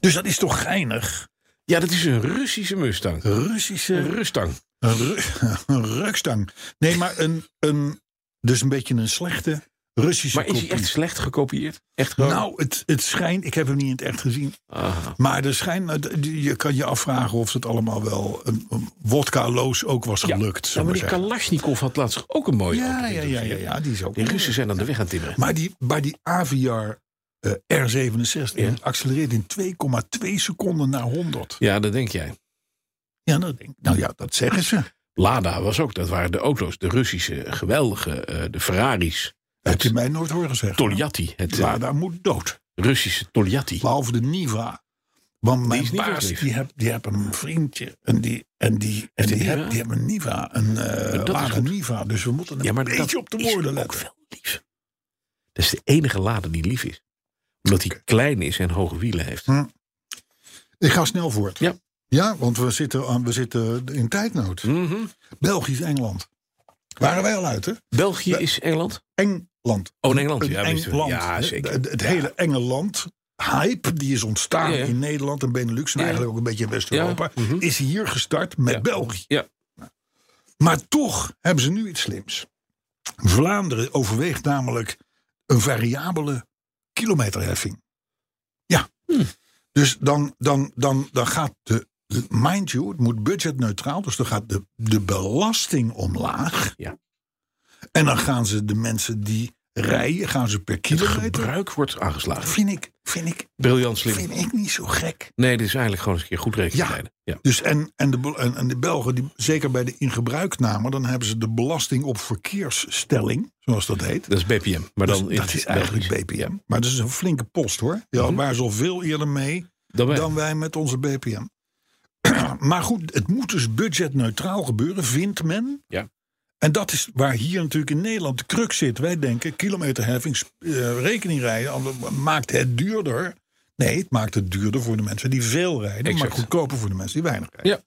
S2: Dus dat is toch geinig?
S3: Ja, dat is een Russische Mustang.
S2: Russische
S3: Een Rustang.
S2: Een, ru- [laughs] een rukstang. Nee, maar een, een. Dus een beetje een slechte Russische
S3: Maar is hij
S2: kopie.
S3: echt slecht gekopieerd? Echt gewoon?
S2: Nou, het, het schijnt. Ik heb hem niet in het echt gezien.
S3: Aha.
S2: Maar er schijnt. Je kan je afvragen of het allemaal wel. Een, een wodka-loos ook was gelukt.
S3: Ja,
S2: zullen
S3: maar
S2: we
S3: die Oh,
S2: zeggen.
S3: Kalashnikov had laatst ook een mooie.
S2: ja,
S3: auto.
S2: ja, ja, ja, ja, die is ook.
S3: Die Russen zijn aan de weg aan het timmeren.
S2: Maar die, maar die AVR eh, R67
S3: Ja.
S2: accelereert in 2,2 seconden naar 100.
S3: Ja, dat denk jij.
S2: Ja, dat denk ik. Nou ja, dat zeggen ze.
S3: Lada was ook, dat waren de auto's, de Russische geweldige, eh, de Ferraris.
S2: Dat heb je mij nooit horen zeggen.
S3: Togliatti, het eh,
S2: Lada moet dood.
S3: Russische Togliatti.
S2: Behalve de Niva. Want mijn
S3: is niet
S2: baas,
S3: verplicht.
S2: die heeft die heb een vriendje. En die, en die, en
S3: een
S2: die,
S3: Niva?
S2: heb, die hebben een Niva. Een eh
S3: dat is
S2: lage
S3: goed.
S2: Niva. Dus we moeten een
S3: Ja, maar dat
S2: beetje op de
S3: is
S2: woorden
S3: ook
S2: letten.
S3: wel lief. Dat is de enige Lada die lief is. Omdat hij klein is en hoge wielen heeft.
S2: Ik ga snel voort.
S3: Ja.
S2: Ja, want we zitten, aan- we zitten in tijdnood.
S3: Mhm.
S2: Belgisch-Engeland. Waren wij al uit, hè?
S3: België
S2: Be-
S3: is Engeland?
S2: Engeland.
S3: Oh, in Engeland.
S2: Een
S3: Ja,
S2: eng
S3: wist u.
S2: land.
S3: ja zeker.
S2: Het, het hele enge land. Hype, die is ontstaan
S3: Ja, ja.
S2: in Nederland en Benelux en
S3: Ja.
S2: eigenlijk ook een beetje in West-Europa,
S3: Ja, mhm.
S2: is hier gestart met
S3: Ja.
S2: België.
S3: Ja.
S2: Maar toch hebben ze nu iets slims. Vlaanderen overweegt namelijk een variabele kilometerheffing. Ja.
S3: Hmm.
S2: Dus dan, dan, dan, dan gaat de. Mind you, het moet budgetneutraal, dus dan gaat de, de belasting omlaag.
S3: Ja.
S2: En dan gaan ze de mensen die rijden, gaan ze per
S3: Het
S2: kilometer.
S3: gebruik wordt aangeslagen.
S2: Vind ik, vind, ik,
S3: Briljant slim.
S2: vind ik niet zo gek.
S3: Nee, dit is eigenlijk gewoon eens een keer goed rekening
S2: Ja.
S3: leiden. Ja.
S2: Dus en, en, de, Bel- en, en de Belgen, die, zeker bij de ingebruiknamen, dan hebben ze de belasting op verkeersstelling, zoals dat heet.
S3: Dat is BPM. Maar dan
S2: Dus dat is eigenlijk BPM.
S3: Ja. Mhm.
S2: Maar dat is een flinke post hoor. Ja, Waar ze al veel eerder mee
S3: Dan wij.
S2: dan wij met onze BPM. [clears throat] maar goed, het moet dus budgetneutraal gebeuren, vindt men.
S3: Ja.
S2: En dat is waar hier natuurlijk in Nederland de crux zit. Wij denken, kilometerheffing, sp- eh, rekening rijden, ander- maakt het duurder. Nee, het maakt het duurder voor de mensen die veel rijden, maar
S3: Exact.
S2: goedkoper voor de mensen die weinig rijden.
S3: Ja.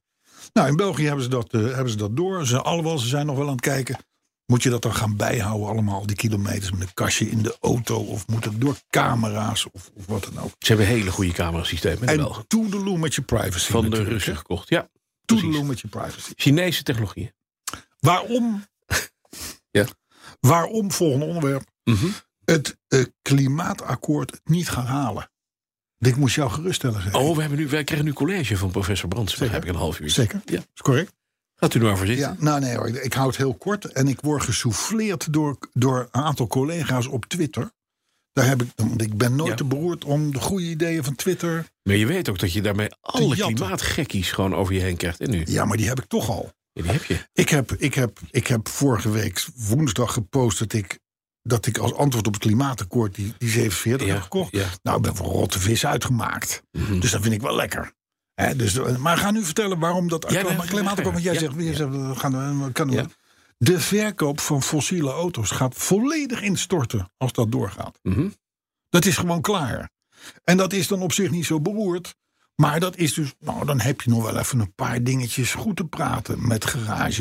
S2: Nou, in België hebben ze dat, eh, hebben ze dat door. Ze, alhoewel, ze zijn nog wel aan het kijken. Moet je dat dan gaan bijhouden allemaal, die kilometers met een kastje in de auto? Of moet het door camera's of, of wat dan ook?
S3: Ze hebben hele goede camerasystemen in de
S2: En
S3: Belgen.
S2: toedeloe met je privacy.
S3: Van de
S2: natuurlijk,
S3: Russen
S2: hè.
S3: gekocht. Ja,
S2: Toedeloe met je privacy.
S3: Chinese technologieën.
S2: Waarom?
S3: [laughs] Ja. Mhm.
S2: Waarom, volgende onderwerp, het eh, klimaatakkoord het niet gaan halen? Dit moest jou geruststellen. Zeg.
S3: Oh, we hebben nu, wij krijgen nu college van professor Brands.
S2: Zeker.
S3: Heb ik een half uur.
S2: Zeker.
S3: Ja.
S2: Is correct?
S3: Gaat u er maar voor zitten.
S2: Ja, nou nee hoor, ik hou het heel kort. En ik word gesouffleerd door, door een aantal collega's op Twitter. Daar heb ik, want ik ben nooit
S3: Ja.
S2: te beroerd om de goede ideeën van Twitter.
S3: Maar je weet ook dat je daarmee alle
S2: jatten.
S3: klimaatgekkies gewoon over je heen krijgt. En nu? Ja,
S2: Ja, maar die heb ik toch al.
S3: die heb je.
S2: Ik heb, ik, heb, ik heb vorige week woensdag gepost dat ik, dat ik als antwoord op het klimaatakkoord die, die 47
S3: Ja,
S2: heb gekocht.
S3: ja. Mhm.
S2: Nou, ik ben voor rotte vis uitgemaakt. Dus dat vind ik wel lekker. Hè, dus, maar ga nu vertellen waarom dat
S3: Ja,
S2: klima-
S3: nee,
S2: klimaatakkoord. Want jij
S3: ja,
S2: zegt,
S3: ja.
S2: jij zegt, we gaan, we kan
S3: Ja.
S2: De verkoop van fossiele auto's gaat volledig instorten als dat doorgaat.
S3: Mhm.
S2: Dat is gewoon klaar. En dat is dan op zich niet zo beroerd. Maar dat is dus, nou dan heb je nog wel even een paar dingetjes goed te praten. Met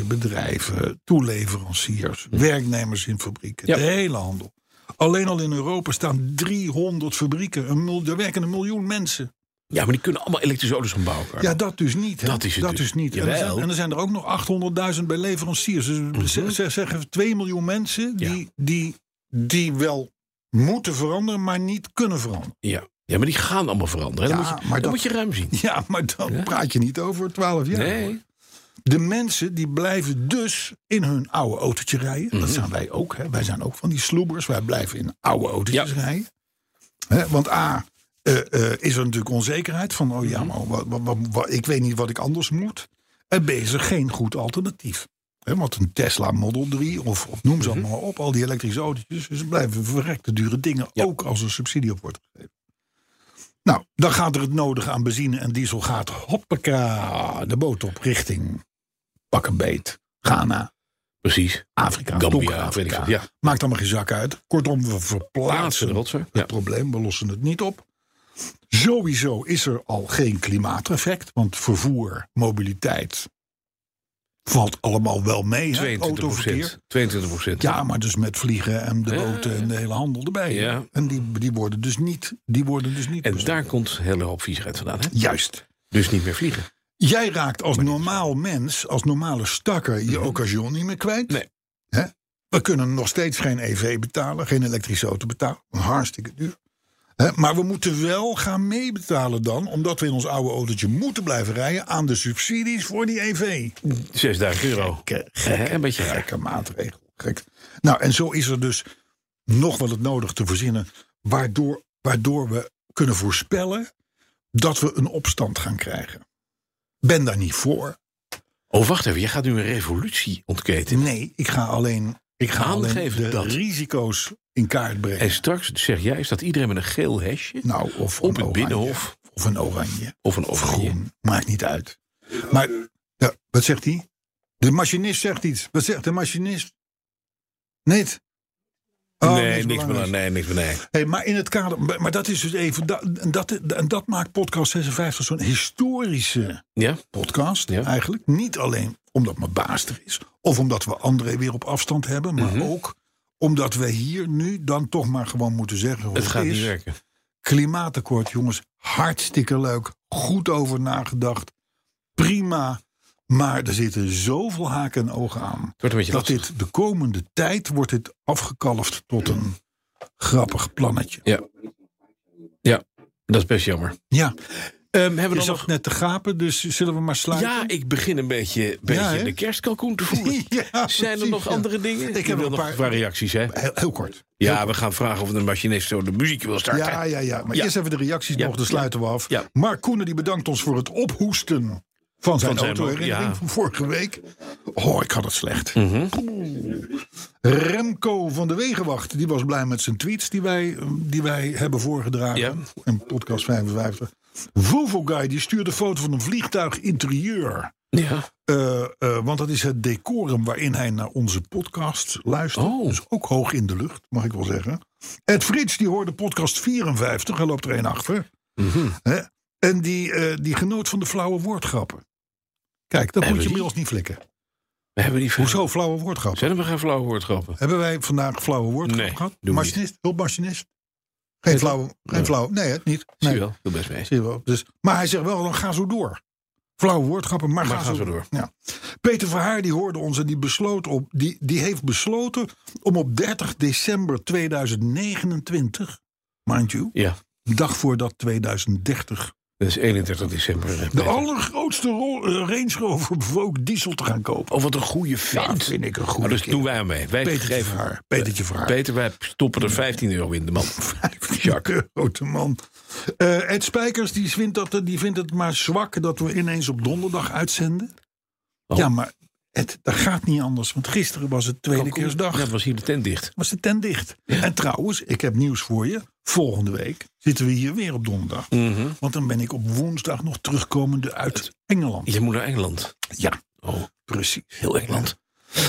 S2: garagebedrijven, toeleveranciers, werknemers in fabrieken.
S3: Mhm. Ja.
S2: De hele handel. Alleen al in Europa staan 300 fabrieken. Een mil, er werken een miljoen mensen.
S3: Ja, maar die kunnen allemaal elektrische auto's gaan bouwen. Carlo.
S2: Ja, dat dus niet. Hè?
S3: Dat is het
S2: dat
S3: dus.
S2: dus niet. En er,
S3: Jawel.
S2: zijn, en er zijn er ook nog 800.000 bij leveranciers. Dus
S3: Mhm.
S2: ze- ze zeggen 2 miljoen mensen die, die, die wel moeten veranderen, maar niet kunnen veranderen.
S3: ja. Ja, maar die gaan allemaal veranderen. Dan,
S2: Ja,
S3: moet, je,
S2: maar
S3: dan
S2: dat-
S3: moet je ruim zien.
S2: [laughs] Ja, maar dan praat je niet over 12 jaar. hoor.
S3: Nee.
S2: De mensen die blijven dus in hun oude autootje rijden.
S3: Mhm.
S2: Dat zijn wij ook. Hè. Wij zijn ook van die sloebers. Wij blijven in oude autootjes
S3: Ja.
S2: rijden. Hè, want A, eh, eh, is er natuurlijk onzekerheid van... oh
S3: Mhm.
S2: ja, maar wat, wat- wat- wat- ik weet niet wat ik anders moet. En B, is er geen goed alternatief. Hè, want een Tesla Model 3 of, of noem ze
S3: Mhm.
S2: allemaal op... al die elektrische autootjes, dus ze blijven verrekte dure dingen... ook als er subsidie op wordt gegeven. Nou, dan gaat er het nodige aan benzine en diesel gaat hoppaka de boot op richting pak een beet, Ghana,
S3: Precies.
S2: Afrika, donker
S3: Gambia, weet ik
S2: Afrika.
S3: veel. Ja.
S2: Maakt allemaal geen zak uit. Kortom, we
S3: Plaatsen de
S2: verplaatsen het
S3: rotzooi. Ja.
S2: probleem, we lossen het niet op. Sowieso is er al geen klimaateffect, want vervoer, mobiliteit, valt allemaal wel mee. hè,
S3: 22
S2: autoverkeer.
S3: 22 procent.
S2: Ja, maar dus met vliegen en de boten en de hele handel erbij. hè.
S3: Ja.
S2: En die, die worden dus niet. Die worden dus niet
S3: En
S2: best-
S3: daar komt een hele hoop viezigheid vandaan. Hè?
S2: Juist.
S3: Dus niet meer vliegen.
S2: Jij raakt als normaal mens, als normale stakker, je occasion niet meer kwijt.
S3: Nee.
S2: Hè? We kunnen nog steeds geen EV betalen, geen elektrische auto betalen. Hartstikke duur. Hè? Maar we moeten wel gaan meebetalen dan, omdat we in ons oude autootje moeten blijven rijden, aan de subsidies voor die E EV.
S3: 6000 euro. Hè, een beetje raar.
S2: Gekke maatregel. Gek. Nou, en zo is er dus nog wel het nodig te verzinnen, waardoor, waardoor we kunnen voorspellen dat we een opstand gaan krijgen. Ben daar niet voor.
S3: Oh, wacht even. Jij gaat nu een revolutie ontketen.
S2: Nee, ik ga alleen, ik ga alleen
S3: Aangeven
S2: de
S3: dat.
S2: risico's in kaart brengen.
S3: En straks zeg jij, staat iedereen met een geel hesje
S2: nou, of
S3: op
S2: een
S3: het
S2: oranje.
S3: binnenhof
S2: Of een oranje.
S3: of een
S2: Of
S3: oranje.
S2: groen. Maakt niet uit. Maar, ja, wat zegt hij? De machinist zegt iets. Wat zegt de machinist? Niet? Oh,
S3: nee, niks
S2: belangrijks.
S3: meer. Nee, niks meer. Nee.
S2: Hey, maar in het kader, maar dat is dus even, dat, en dat, en dat maakt podcast 56 zo'n historische
S3: Ja?
S2: podcast
S3: Ja.
S2: eigenlijk. Niet alleen omdat mijn baas er is, of omdat we André weer op afstand hebben, maar
S3: Mhm.
S2: ook omdat we hier nu dan toch maar gewoon moeten zeggen hoe
S3: Het
S2: het,
S3: gaat
S2: is.
S3: niet werken.
S2: Klimaatakkoord, jongens, hartstikke leuk, goed over nagedacht, prima. Maar er zitten zoveel haken en ogen aan
S3: Het wordt een beetje
S2: dat
S3: lastig.
S2: dit de komende tijd wordt dit afgekalfd tot een grappig plannetje.
S3: Ja. Ja, dat is best jammer.
S2: Ja,
S3: Ehm, hebben we
S2: Je
S3: dan
S2: zag
S3: nog...
S2: net te gapen, dus zullen we maar sluiten?
S3: Ja, ik begin een beetje, beetje
S2: hè?
S3: de
S2: [laughs]
S3: kerstkalkoen te voelen.
S2: Ja,
S3: Zijn er
S2: precies,
S3: nog
S2: ja.
S3: andere dingen?
S2: Ik
S3: Je
S2: heb
S3: wil
S2: een
S3: nog
S2: paar-
S3: een paar reacties, hè?
S2: Heel, heel kort.
S3: Ja, we gaan vragen of de machinist zo de muziek wil starten.
S2: Ja, ja, ja. Maar
S3: Ja.
S2: eerst even de reacties
S3: Ja.
S2: nog, dan sluiten we af.
S3: Ja.
S2: Mark Koenen die bedankt ons voor het ophoesten van zijn,
S3: Van zijn
S2: autoherinnering
S3: ja.
S2: van vorige week. Oh, ik had het slecht. Poeh. Remco van de Wegenwacht, die was blij met zijn tweets die wij, die wij hebben voorgedragen.
S3: Ja.
S2: In podcast 55. Volvo Guy die stuurde een foto van een vliegtuig interieur.
S3: Ja.
S2: Eh, eh, want dat is het decorum waarin hij naar onze podcast luistert.
S3: Oh.
S2: Dus ook hoog in de lucht, mag ik wel zeggen. Ed Frits, die hoorde podcast 54. Hij loopt er een achter.
S3: Mhm.
S2: Hè? En die, eh, die genoot van de flauwe woordgrappen. Kijk, dat moet
S3: Hebben
S2: je
S3: we die?
S2: inmiddels niet flikken.
S3: We hebben die vraag.
S2: Hoezo flauwe woordgrappen?
S3: Zijn er maar geen flauwe woordgrappen?
S2: Hebben wij vandaag flauwe woordgrappen
S3: Nee,
S2: gehad?
S3: doen we niet.
S2: Machinist, hulpmachinist? Geen flauwe, geen flauwe. Nee, het niet.
S3: Zie
S2: Nee.
S3: je wel, doe best mee.
S2: Zie je wel. Dus, maar hij zegt wel, dan ga zo door. Flauwe woordgrappen, maar,
S3: Maar
S2: ga,
S3: ga
S2: zo
S3: zo
S2: door. Ja. Peter Verhaar die hoorde ons en die, besloot op, die, die heeft besloten om op 30 december 2029, mind you,
S3: Ja,
S2: de dag voordat 2030,
S3: dat is 31 december. eh,
S2: de
S3: Peter.
S2: allergrootste rol, eh, Range Rover Vogue diesel te gaan kopen.
S3: Oh, wat een goede vent.
S2: Ja, vind ik een goede
S3: Nou, dus
S2: kerel.
S3: doen wij hem mee. Wij
S2: Petertje
S3: geven
S2: Verhaar. Petertje Verhaar.
S3: Peter, wij stoppen er 15 euro in de man.
S2: Jacques, grote man. Eh, Ed Spijkers die vindt, dat, eh, die vindt het maar zwak dat we ineens op donderdag uitzenden.
S3: Oh.
S2: Ja, maar Ed, dat gaat niet anders. Want gisteren was het
S3: Oh,
S2: tweede kerstdag.
S3: Dat was hier de tent dicht.
S2: Was de tent dicht. En trouwens, ik heb nieuws voor je. Volgende week zitten we hier weer op donderdag.
S3: Mhm.
S2: Want dan ben ik op woensdag nog terugkomende uit Engeland.
S3: Je moet naar Engeland.
S2: Ja,
S3: Oh,
S2: precies.
S3: heel Engeland.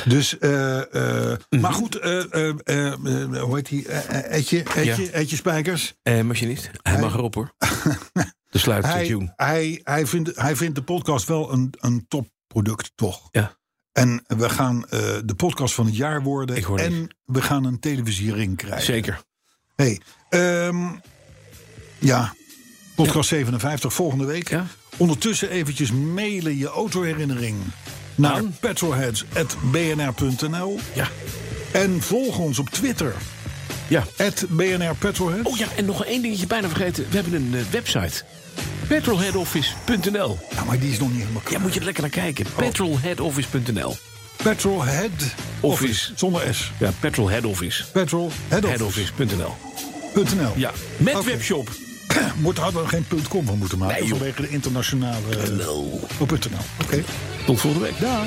S2: Dus, eh, eh,
S3: Mhm.
S2: maar goed, eh, eh, eh, eh, hoe heet die? Eh, eh, Edje, Edje,
S3: Ja.
S2: Edje Spijkers.
S3: Eh, machinist, hij mag erop hoor. De sluit de
S2: hij,
S3: tune.
S2: hij, hij, vindt, hij vindt de podcast wel een, een topproduct, toch?
S3: Ja.
S2: En we gaan eh, de podcast van het jaar worden.
S3: Ik hoor
S2: en we gaan een televisiering krijgen.
S3: Zeker.
S2: Hey, ehm, ja, podcast 57 volgende week.
S3: Ja.
S2: Ondertussen eventjes mailen je autoherinnering naar petrolheads.bnr.nl.
S3: Ja.
S2: En volg ons op Twitter,
S3: ja.
S2: @bnrpetrolheads.
S3: Oh ja, en nog één dingetje bijna vergeten. We hebben een eh, website. petrolheadoffice.nl
S2: Ja, Nou, maar die is nog niet helemaal
S3: Ja,
S2: klaar.
S3: moet je er lekker naar kijken. petrolheadoffice.nl
S2: Petrolhead
S3: Office.
S2: Zonder S.
S3: Ja, petrolheadoffice.
S2: Petrolheadoffice.nl
S3: Headoffice.nl
S2: Ja.
S3: Ja, met
S2: Oké.
S3: webshop.
S2: Moet, hadden we er geen .com van moeten maken
S3: Nee, joh.
S2: vanwege de internationale... eh, op .nl. Oké.
S3: Tot volgende week.
S2: Daar.